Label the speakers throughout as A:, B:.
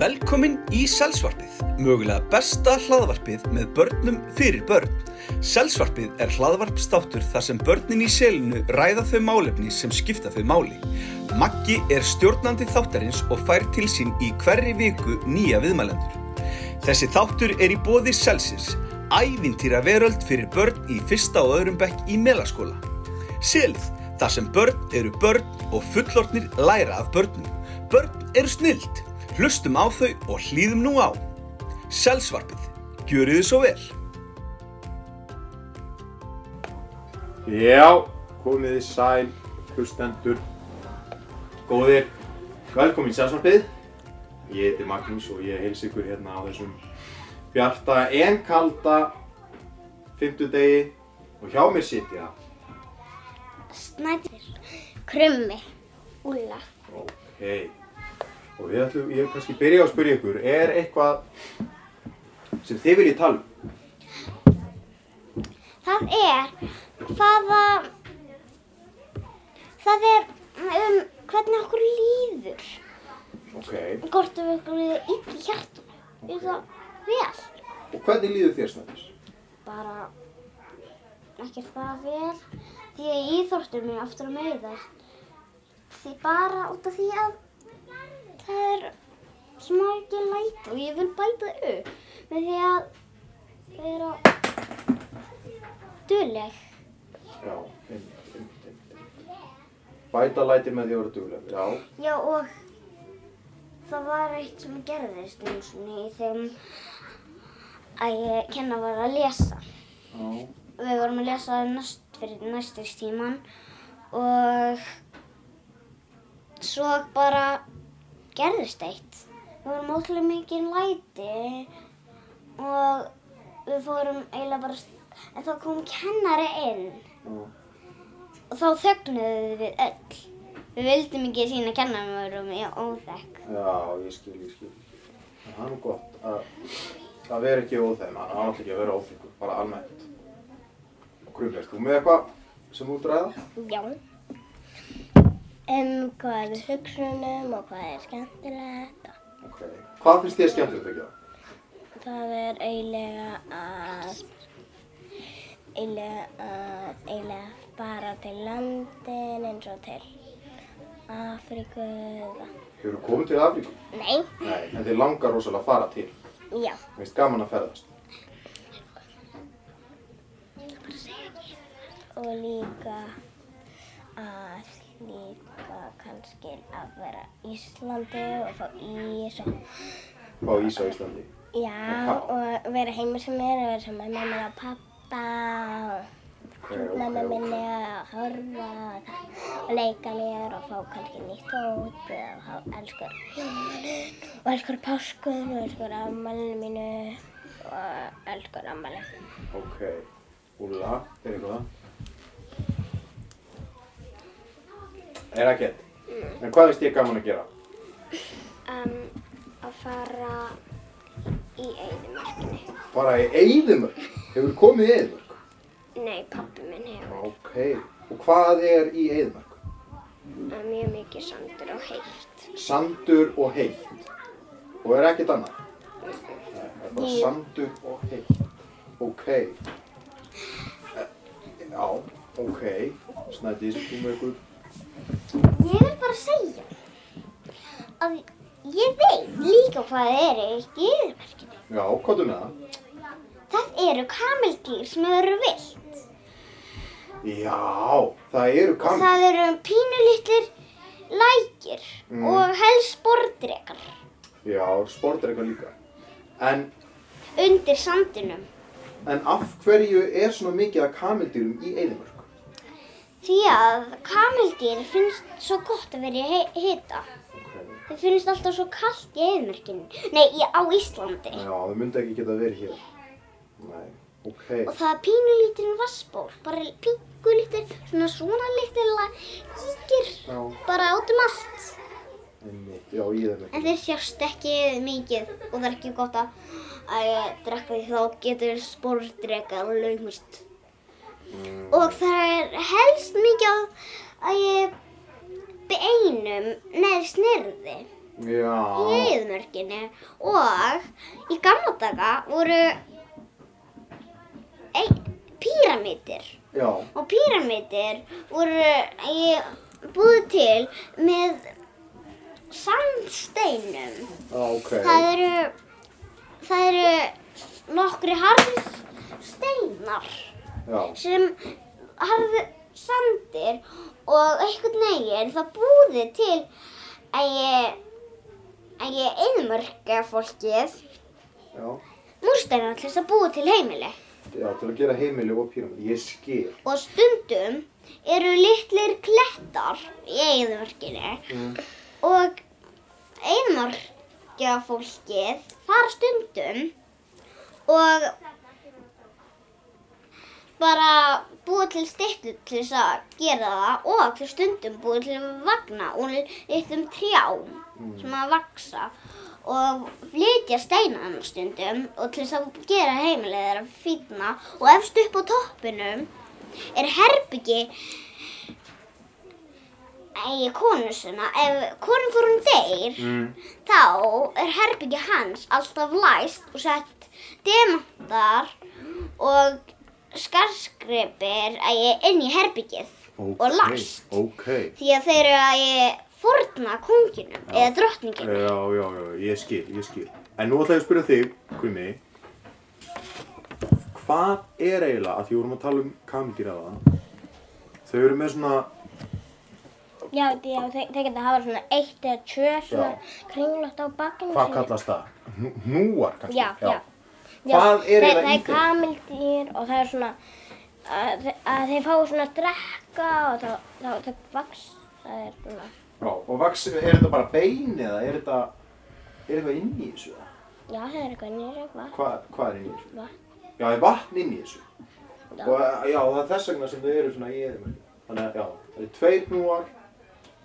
A: Velkomin í Selsvarpið, mögulega besta hlaðvarpið með börnum fyrir börn. Selsvarpið er hlaðvarpstáttur þar sem börnin í selinu ræða þau málefni sem skipta þau máli. Maggi er stjórnandi þáttarins og fær til sín í hverri viku nýja viðmælendur. Þessi þáttur er í bóði Selsins, ævintýra veröld fyrir börn í fyrsta og öðrum bekk í melaskóla. Selið, þar sem börn eru börn og fullornir læra af börnum. Börn eru snild. Hlustum á þau og hlýðum nú á. Selsvarpið. Gjörið þið svo vel.
B: Já, komið í sæl, hlustendur, góðir, velkomin í Selsvarpið. Ég heiti Magnús og ég heils ykkur hérna á þessum bjarta en kalda fimmtudegi og hjá mér sitja.
C: Snædir, krummi, úlla.
B: Ok, og við ætlum, ég vil kannski byrja á að spyrja ykkur, er eitthvað sem þið viljið tala um?
C: Það er hvaða, það er um hvernig okkur líður.
B: Ok,
C: Hvort við okkur líður illa í hjartum. Ég það vel.
B: og hvernig líður þér snæðis?
C: Bara ekki það vel. Því að íþórtum er aftur að meiðast. Því bara út af því að það er smá ekki læti og ég vil bæta upp með því að vera duðleg.
B: Já, einmitt, einmitt, einmitt. Bæta læti með því að vera duglega, já.
C: Já og það var eitt sem gerðist einu sinni í þeim að ég kenna var að lesa.
B: Já.
C: Við vorum að lesa næst fyrir næstistíman og svo bara gerðist eitt. Við vorum ótrúlega mikið læti og við fórum eiginlega bara, en þá kom kennari inn
B: Já.
C: og þá þögnuðu við öll. Við vildum ekki sína kennarum að við vorum í óþekk.
B: Já, ég skil, ég skil. En það er nú gott að það veri ekki óþægum, hann átti ekki að vera óþægur, bara almennt. Grunlega, þú með eitthvað sem þú dræða?
C: Já. Um, hvað er við hugsunum og hvað er skemmtilegt.
B: Ok. Hvað finnst þér skemmtilegt að gera?
C: Það er eiginlega að, eiginlega að, eiginlega bara til landin eins og til Afríku eða.
B: Hefur þú komið til Afríku?
C: Nei,
B: Nei, en þið langar rosalega að fara til.
C: já.
B: Mér finnst gaman að ferðast.
C: Og líka að líka kannski að vera á Íslandi og fá ís og,
B: Fá ís á Íslandi.
C: já, og vera heima sem er og vera sem með mamma og pappa og
B: Ok,
C: mamma
B: ok,
C: minni
B: ok.
C: að horfa og það- og leika mér og fá kannski nýtt út og há- elskur jólalinn og elskur páskun og elskur afmælinu mínu og elskur afmæli.
B: Ok. Úlla, er eitthvað? Er það gett?
C: Mm.
B: En hvað finnst þér gaman að gera?
C: Um, að fara í eigðumörkinni.
B: Bara í Eidumörk? Hefur þú komið í Eidumörk?
C: Nei, pappi minn hefur
B: Ok, og hvað er í Eðmark?
C: mjög mikið sandur og heitt.
B: Sandur og heitt. Og er ekkert annað? Nei, það er bara
C: Jú.
B: sandur og heitt. Ok. Eh, Já, ok. Snædís, þú með ykkur.
C: Ég vil bara segja að ég veit líka hvað er ekki eigðumörkinni.
B: Já, hvað er með það?
C: Það eru kamildýr sem eru vilt.
B: Já, það eru kam.
C: Það eru pínulitlir lækir
B: Mm.
C: og helst bordrekar
B: Já, sport er eitthvað líka. En,
C: undir sandinum.
B: en af hverju er svona mikið af kamildýrum í Eðmark?
C: Því að kamildýr finnst svo gott að vera í hi- hita.
B: Ok.
C: Þau finnst alltaf svo kallt í eðmerkinu. Nei, í, á Íslandi.
B: Já, það myndi ekki geta verið hér. Nei, ok.
C: Og það er pínulítinn vassból, bara pínulítinn, svona svona litil kíkir
B: Já,
C: bara át um allt.
B: einmitt, já, í Eðmark.
C: En þeir sjást ekki mikið og það er ekki gott að, að drekka því þá getur spordreka og laumist. Og það er helst mikið að, að beinum neðri snirði. í
B: Já,
C: eyðumörkinni og í gamla daga voru ein, píramítir
B: já,
C: og píramítir voru eh, búið til með sandsteinum.
B: já, ok.
C: Það eru, það eru nokkri harðir steinar
B: Já,
C: sem harði sandir og einhvern veginn það búði til að ég, að ég einmörka fólkið
B: já,
C: múrsteina til þess að búi til heimili
B: já, til að gera heimili og píramíd. Ég skil.
C: og stundum eru litlir klettar í einmörkinu
B: Mm.
C: og einmörka fólkið fara stundum og bara búið til styttu til þess að gera það og fyrir stundum búið til vagna úr litlum trjám sem að vaksa og flytja steinana stundum og til þess að gera heimilið þeirra fínna og efst upp á toppinum er herbyggi eigi konu sinna ef konu fór hún deyr
B: Mm.
C: þá er herbyggi hans alltaf læst og sett demantar og skarskreipir inn í herbyggið og læst
B: Ok,
C: því að þeir eru að ég forna konginum eða drottninginu.
B: já, já, já, ég skil, ég skil. En nú ætla ég að spyrja þig, Gumi, hvað er eiginlega, að því við vorum að tala um kamildýraðan, þau eru með svona,
D: Já, já þeir, þeir geta hafa svona eitt eða tvö svona
B: Já.
D: kringlótt á bakinu.
B: hvað kallast það? Hnú- Hnúar kannski?
D: Já, já.
B: Hvað er
D: þeir,
B: eiginlega í
D: þeir? Það er
B: þeim?
D: kamildýr og það er svona að, þe- að þeir fá svona að drekka og þá, þá, þá vaks það er svona.
B: Já, og vaxi, er þetta bara bein eða er þetta, er eitthvað inn í þessu? eða?
D: Já, það er eitthvað nýra eitthvað.
B: Hvað, hvað er inn í þessu?
D: Vatn.
B: Já, það er vatn inn í þessu.
D: Já.
B: Og já, það er þess vegna sem þau eru svona í eðumörnum. Þannig að já, það eru tveir hnúar,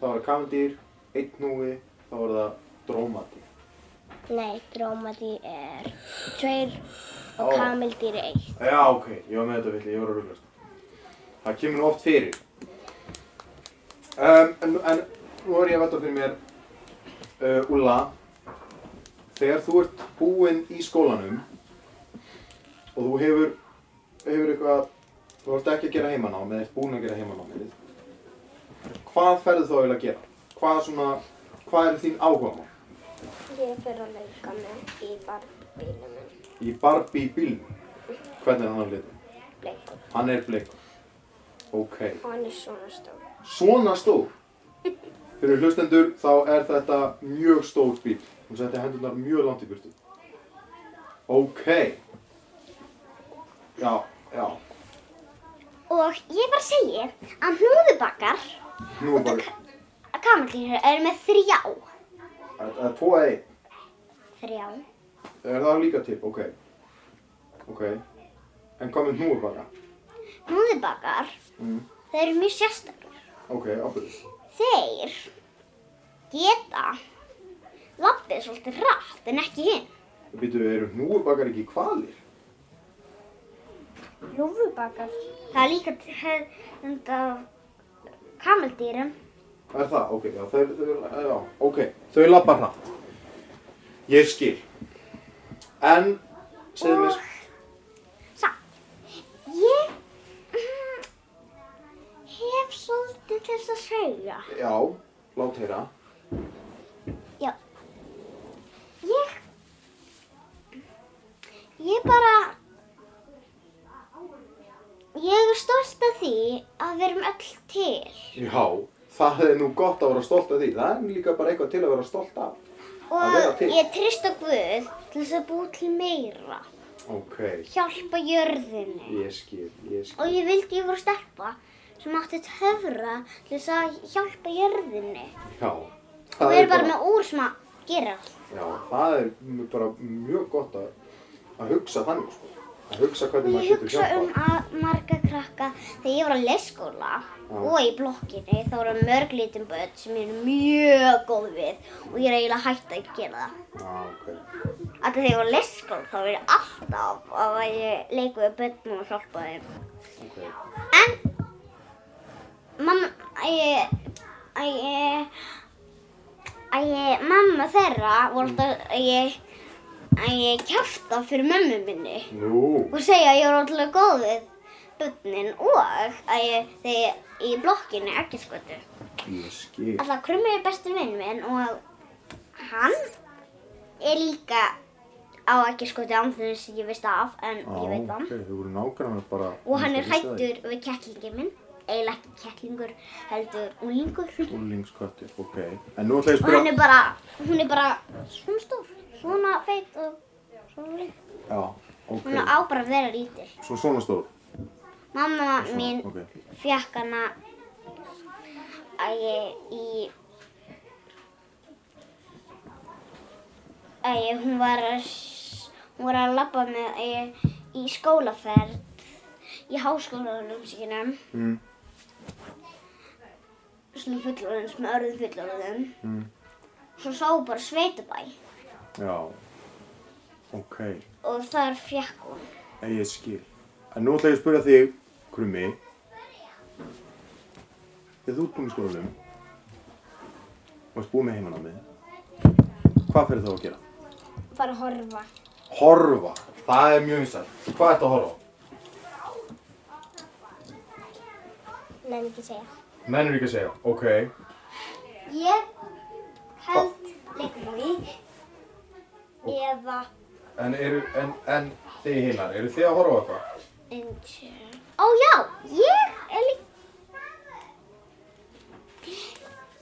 B: þá eru kamdýr, einn hnúi, þá eru það drómadýr.
D: Nei, drómadýr er tveir og
B: Ó.
D: kamildýr er eitt.
B: Já, ok, ég var með þetta villi, ég var að rúglast. Það kemur nú oft fyrir. Um, en, en nú er ég að velta fyrir mér, uh, Ulla, þegar þú ert búinn í skólanum og þú hefur, hefur eitthvað, þú ert ekki að gera heimanám eða ert búinn að gera heimanámið, hvað ferðu þá eiginlega að gera? Hvað svona, hvað eru þín áhuga mál?
D: Ég fyrir að leika með í barbílum
B: Í Barbie bílnum, hvernig er hann að lita?
D: bleikum
B: Hann er bleikur. Ok.
D: og hann er svona stór.
B: svona stór fyrir hlustendur þá er þetta mjög stór bíl hún setti hendurnar mjög langt í burtu ok já, já
C: Og ég bara segi að hnúðubakar
B: nú er bara
C: að kamillýra eru með þrjá.
B: það er tvo ei
C: Þrjá.
B: er það líka til, ok ok en hvað með nú er bara
C: Hnúðubakar,
B: mm.
C: þeir eru mjög sérstakar.
B: ok, ábyrðis
C: Þeir geta lappið svolítið rætt en ekki hinn.
B: býtu, eru hnúfubakar ekki kvalir?
D: Lúfubakar.
C: Það er líka hefnd af kamildýrum.
B: Er það? Ok, já, þau, þau, já, ok, þau lappa hratt. Ég skil. En, segðu mér,
C: Og samt, ég mm, hef svolítið til þess að segja.
B: já, lát heyra.
C: Já, ég, ég bara, ég er stolt af því að við erum öll til.
B: Já, það er nú gott að vera stolt af því. Það er líka bara eitthvað til að vera stolt af. Að vera
C: Og
B: til.
C: ég trist á Guð til þess að búi til meira,
B: Ok,
C: hjálpa jörðinni.
B: ég skil, ég skil.
C: Og ég vildi ég voru stelpa sem átti töfra til þess að hjálpa jörðinni.
B: Já,
C: Og
B: það
C: við erum bara með úr sem að gera allt.
B: já, það er m- bara mjög gott að, að hugsa þannig, sko. Að hugsa hvernig
C: Ég
B: maður getur
C: hugsa um
B: hjálpað.
C: að marga krakka þegar ég var á leikskóla og í blokkinni þá voru mörg litum börn sem ég er mjög góð við og ég er eiginlega hægt að gera það.
B: Já, ok.
C: Alltaf þegar ég var á leikskóla þá er ég alltaf að ég leiku við börn og hjálpa þeim.
B: Ok,
C: En mamma, ég, ég, að ég, mamma þeirra voru alltaf að ég, að ég kjafta fyrir mömmu minni
B: Nú,
C: og segja að ég var alltaf góð við bönnin og að ég, þegar ég í blokkinni ekki skotu.
B: ég skil.
C: Alltaf krummi er besti vinn minn og hann er líka á ekki skotu án þess að ég veist af en
B: Á,
C: ég veit hann.
B: ok, þau voru nákvæmlega bara...
C: Og hann er
B: Ég vissi það ekki.
C: hættur við kettlingin minn, eiginlega ekki kettlingur, heldur unglingur.
B: Úrlingsköttur, ok. En nú ætla ég að
C: Og
B: spyrja...
C: hann er bara, hún er bara svona stór, svona feit og svona lík.
B: Já,
C: Hún
B: ok.
C: á bara að vera lítil.
B: Svo svona stór.
C: Mamma
B: Svona,
C: mín
B: ok.
C: fekk hana að ég í, að ég, hún var að, s- hún var að labba með að ég í skólaferð í háskólanum sínum.
B: Mm,
C: svona fullorðins með örðum fullorðum
B: mm,
C: svo sá hún bara sveitabæ
B: já. Ok,
C: og þar fekk hún
B: en ég skil. En nú ætla ég að spyrja þig, Krummi. Þegar þú ert búinn í skólanum og ert búinn með heimanámið, hvað fyrir þá að gera?
D: Fara að horfa.
B: Horfa. Það er mjög vinsælt. Hvað ertu að horfa á?
D: Nei, ekki segja.
B: Mennur ekki að segja. Ok.
C: ég held leikmói eða
B: En, eru, en, en þið hinnar, eru þið að horfa á eitthvað?
C: Indie. Ó já, ég er líka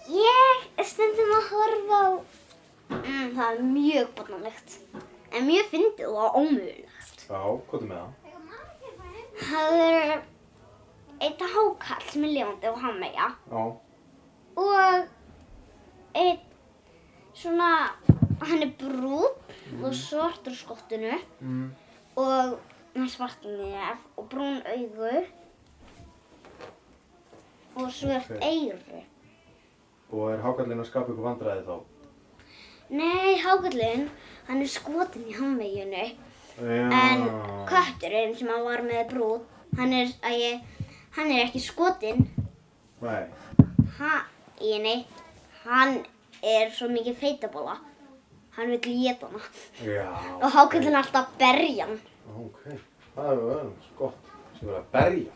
C: Ég er stundum að horfa á mm, Það er mjög botnanlegt En mjög fyndið og ómögulegt
B: Já, hvað er með það?
C: Það er eitt hákall sem er lifandi og hann meja
B: Já.
C: og einn svona, hann er brún og svartur á skottinu
B: Mm.
C: og hann svartur nef og brún augu og svart
B: Ok.
C: eyru.
B: Og er hákallin að skapa ykkur vandræði þá?
C: Nei, hákallinn, hann er skotin í handveginu
B: Já.
C: en
B: Ah.
C: kötturinn sem hann var með brún, hann er, að ég, hann er ekki skotin,
B: Nei.
C: ha, ég nei, hann er svo mikið feitabóla, hann vil geta hana.
B: Já.
C: Og hákallinn er alltaf að berja hann.
B: Ok. Það er öðrum gott. Sem er að berja.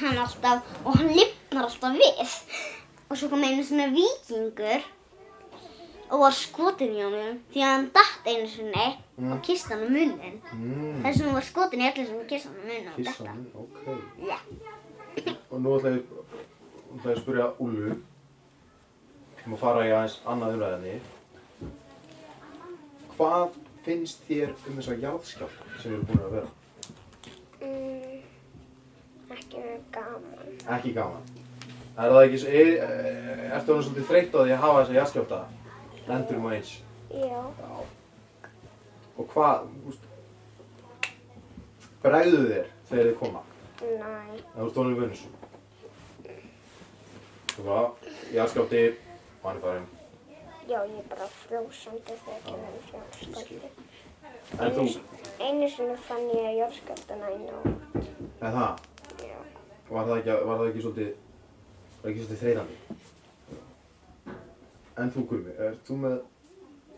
C: Hann alltaf, og hann lifnar alltaf við. Og svo kom einu svona vikingur og var skotin í honum því að hann datt einu sinni
B: Mm.
C: og kista hann á munnin.
B: Mm.
C: Þess vegna var skotin í öllu sem kista hann á munnin og
B: Kissa
C: detta.
B: hann, ok.
C: Já.
B: Og nú ætla ég, ætla ég að spyrja Úlfu. Við að fara í aðeins annað umræðinni. Hvað finnst þér um þessa járnskjálta sem eru búin að vera?
D: Mm, ekki mjög gaman.
B: Ekki gaman. Er það ekki, er, ertu hann svolítið þreytt á því að hafa þessa jarðskjálfta? Lendur um og eins.
D: Já.
B: Já. Og hvað, úst, bregðu þér þegar þið koma?
D: Næ.
B: Það voru stónum vinnus. Þú bara, jarðskjálfti, og hann er farinn.
D: Já, ég er bara frjósandi þegar ég verður frjósandi.
B: En þú,
D: Einu sinni fann ég jórskjöldana í nóg.
B: en það,
D: Já.
B: var það ekki, var það ekki svolítið, var ekki svolítið þreytandi? En þú, Gumi, er þú með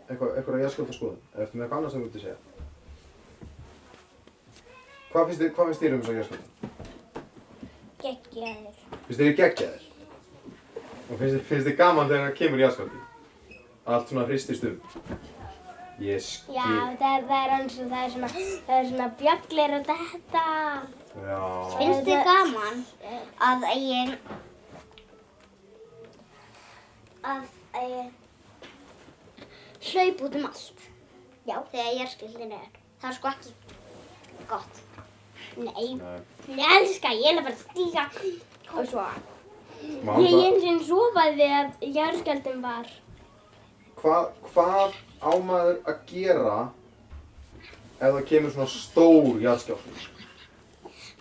B: eitthvað, eitthvað jarðskjálfta skoðun? Ertu með eitthvað annað sem þú vilt að segja? Hvað finnst þér, hvað finnst þér um þessa jarðskjálfta?
D: Geggjaðir.
B: Finnst þér geggjaðir? Og finnst þér, finnst þér gaman þegar það kemur í aðskaldi? Allt svona hristist um. Ég skil.
D: Já, það, það er eins og það er svona, það er svona bjallir og þetta.
B: Já.
C: Finnst þið gaman að ég, að ég hlaup út um allt? Já. Þegar ég er skildin er. Það er sko ekki gott. Nei.
B: Nei.
C: Ég elska, ég er bara að stíga.
D: Og svo.
B: Má
D: Ég
B: bara-
D: eins og sofaði þegar jórskjöldin var.
B: Hvað, hvað á maður að gera ef það kemur svona stór jarðskjálfti?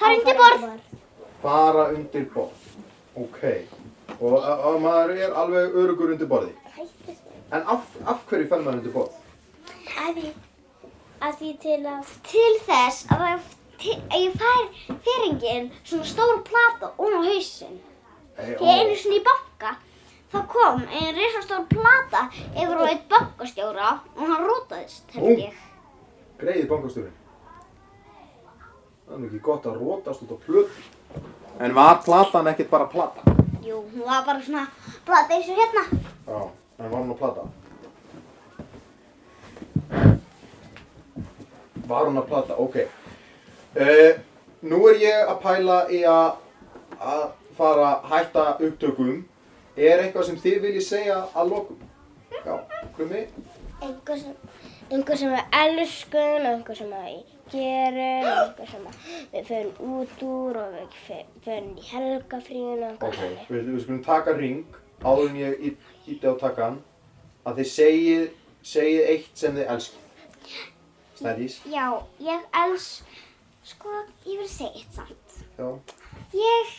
C: Fara undir borð.
B: Fara undir borð. Ok. Og að, að maður er alveg örugur undir borði. En af, af hverju fer maður undir borð?
D: Að því, að því til að,
C: Til þess að ef til- ef ég fær feringin svona stór plata ofan á hausinn.
B: Ei,
C: Þegar einu sinni í banka, þá þá kom einn risastór plata yfir á eitt bankastjóra og hann rótaðist,
B: Ó.
C: held ég.
B: Greiði bankastjórin. Það er nú ekki gott að rótast út á plötu. En var platan ekkert bara plata?
C: Jú, hún var bara svona plata eins og hérna.
B: Já, en var hún að plata? Var hún að plata, ok. Uh, nú er ég að pæla í að, að fara að hætta upptökum. Er eitthvað sem þið viljið segja að lokum? Já, krummi?
D: einhver sem, einhver sem við elskum, einhver sem við gerum, einhver sem við förum út úr og við fe- förum í helgafríðun og einhver
B: Ok,
D: þannig.
B: við, við skulum taka ring áður en ég ít- íti á takkan að þið segið, segið eitt sem þið elskið. Snædís?
C: Já, ég els, sko, ég vil segja eitt samt.
B: Já.
C: Ég,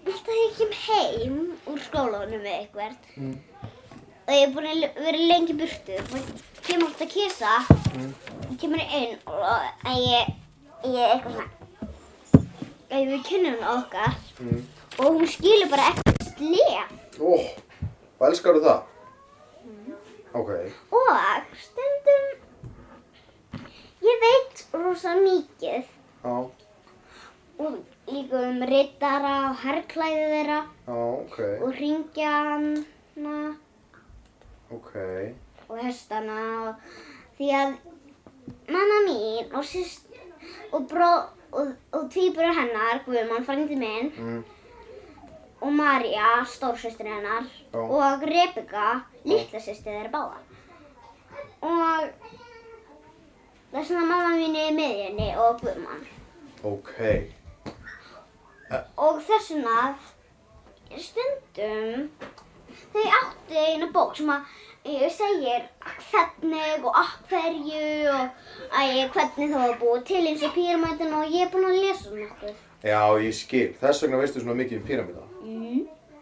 C: alltaf þegar ég kem heim úr skólanum með eitthvert
B: Mm.
C: og ég er búin að le- vera lengi í burtu og kem alltaf að kisa
B: Mm.
C: og kemur inn og að ég, ég er eitthvað svona að ég við kynnum okkar
B: Mm.
C: og hún skilur bara ekkert slef
B: Ó, og elskar þú það? Ok,
C: og stundum ég veit rosa mikið
B: já,
C: og líka um rittara og herrklæði þeirra
B: já, ok,
C: og ringjana
B: ok,
C: og hestana og því að mamma mín og sýst og bró og, og tvíburur hennar, Guðmann, frændi minn
B: mm.
C: og Marja, stórsýstir hennar
B: Já.
C: og Rebecca, litla sýstir þeirra báða og það er svona mamma mín er í miðjunni og Guðmann
B: ok,
C: og þess vegna stundum þau áttu eina bók sem að ég segir hvernig og af hverju og æ, hvernig það var búið til eins og píramætin og ég er búin að lesa um nokkuð
B: já, ég skil, þess vegna veistu svona mikið um píramíta.
C: mm.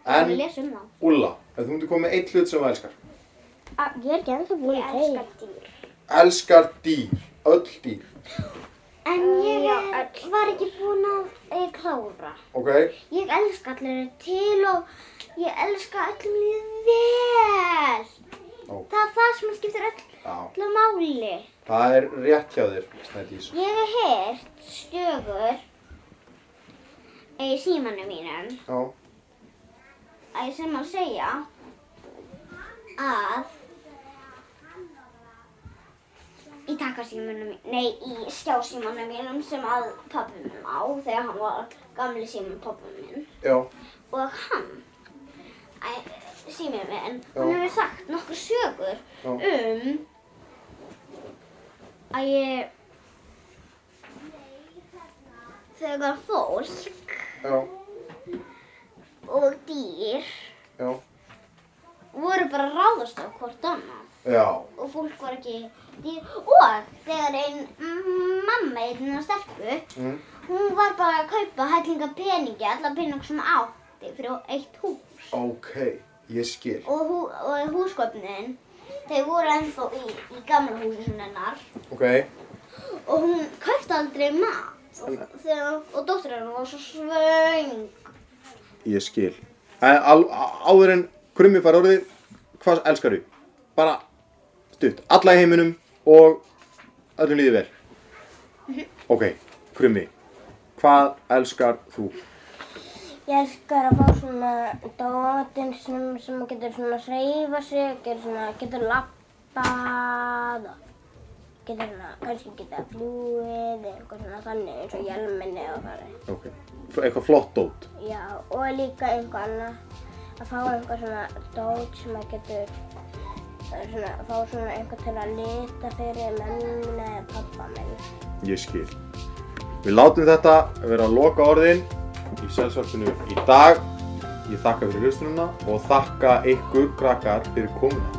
B: En,
C: ég lesa um það
B: Ulla, ef þú myndir koma með eitt hlut sem þú elskar,
D: Ég er ekki ennþá búin
C: ég elskar dýr
B: elskar dýr, öll dýr,
C: en
D: Uh,
C: ég er, var ekki búin að eh, klára
B: ok,
C: ég elska allir eru til og ég elska öllum líð vel
B: Ó.
C: það er það sem skiptir öll,
B: já,
C: öllu máli
B: það er rétt hjá þér, Snædís.
C: Ég hef heyrt stögur í símanum mínum
B: Já,
C: að sem að segja að í takkasímanum, nei í skjásímanum mínum sem að pabbi minn á þegar hann var gamli síman pabbi minn
B: já,
C: og hann að síminn minn,
B: Já.
C: hann hefur sagt nokkur sögur
B: já,
C: um að ég þegar fólk
B: já,
C: og dýr
B: já,
C: voru bara að ráðast á hvort annað
B: já,
C: og fólk var ekki dýr og þegar ein mm, mamma einna stelpu
B: mm.
C: hún var bara að kaupa hellinga peningi alla pening sem hún átti fyrir eitt hús
B: ok, ég skil,
C: og, hú, og húsgöfnin þau voru ennþá í, í gamla húsinu hennar
B: ok,
C: og hún kaupti aldrei mat og, þegar, og dóttir hennar var svo svöng
B: ég skil. En al, á- áður en krummi fara orðið, hvað elskar þú? Bara stutt, alla í heiminum og öllum líði vel. Ok, krummi, hvað elskar þú?
D: Ég elskar að fá svona dótin sem, sem getur svona hreyfa sig, getur svona, getur lappað og getur svona, kannski getur fljúið eða eitthvað svona þannig eins og hjálminni og þannig.
B: Ok, f- eitthvað flott dót.
D: Já, og líka einhver annað að fá einhver svona dót sem að getur
C: äh,
D: eh, svona, fá svona einhver til að
C: niin,
D: lita fyrir mömmina eða pappa minn.
B: Ég skil. Við látum þetta vera að loka orðin í sjálfsvarpinu í dag. Ég þakka fyrir hlustununa og þakka ykkur krakkar fyrir komuna.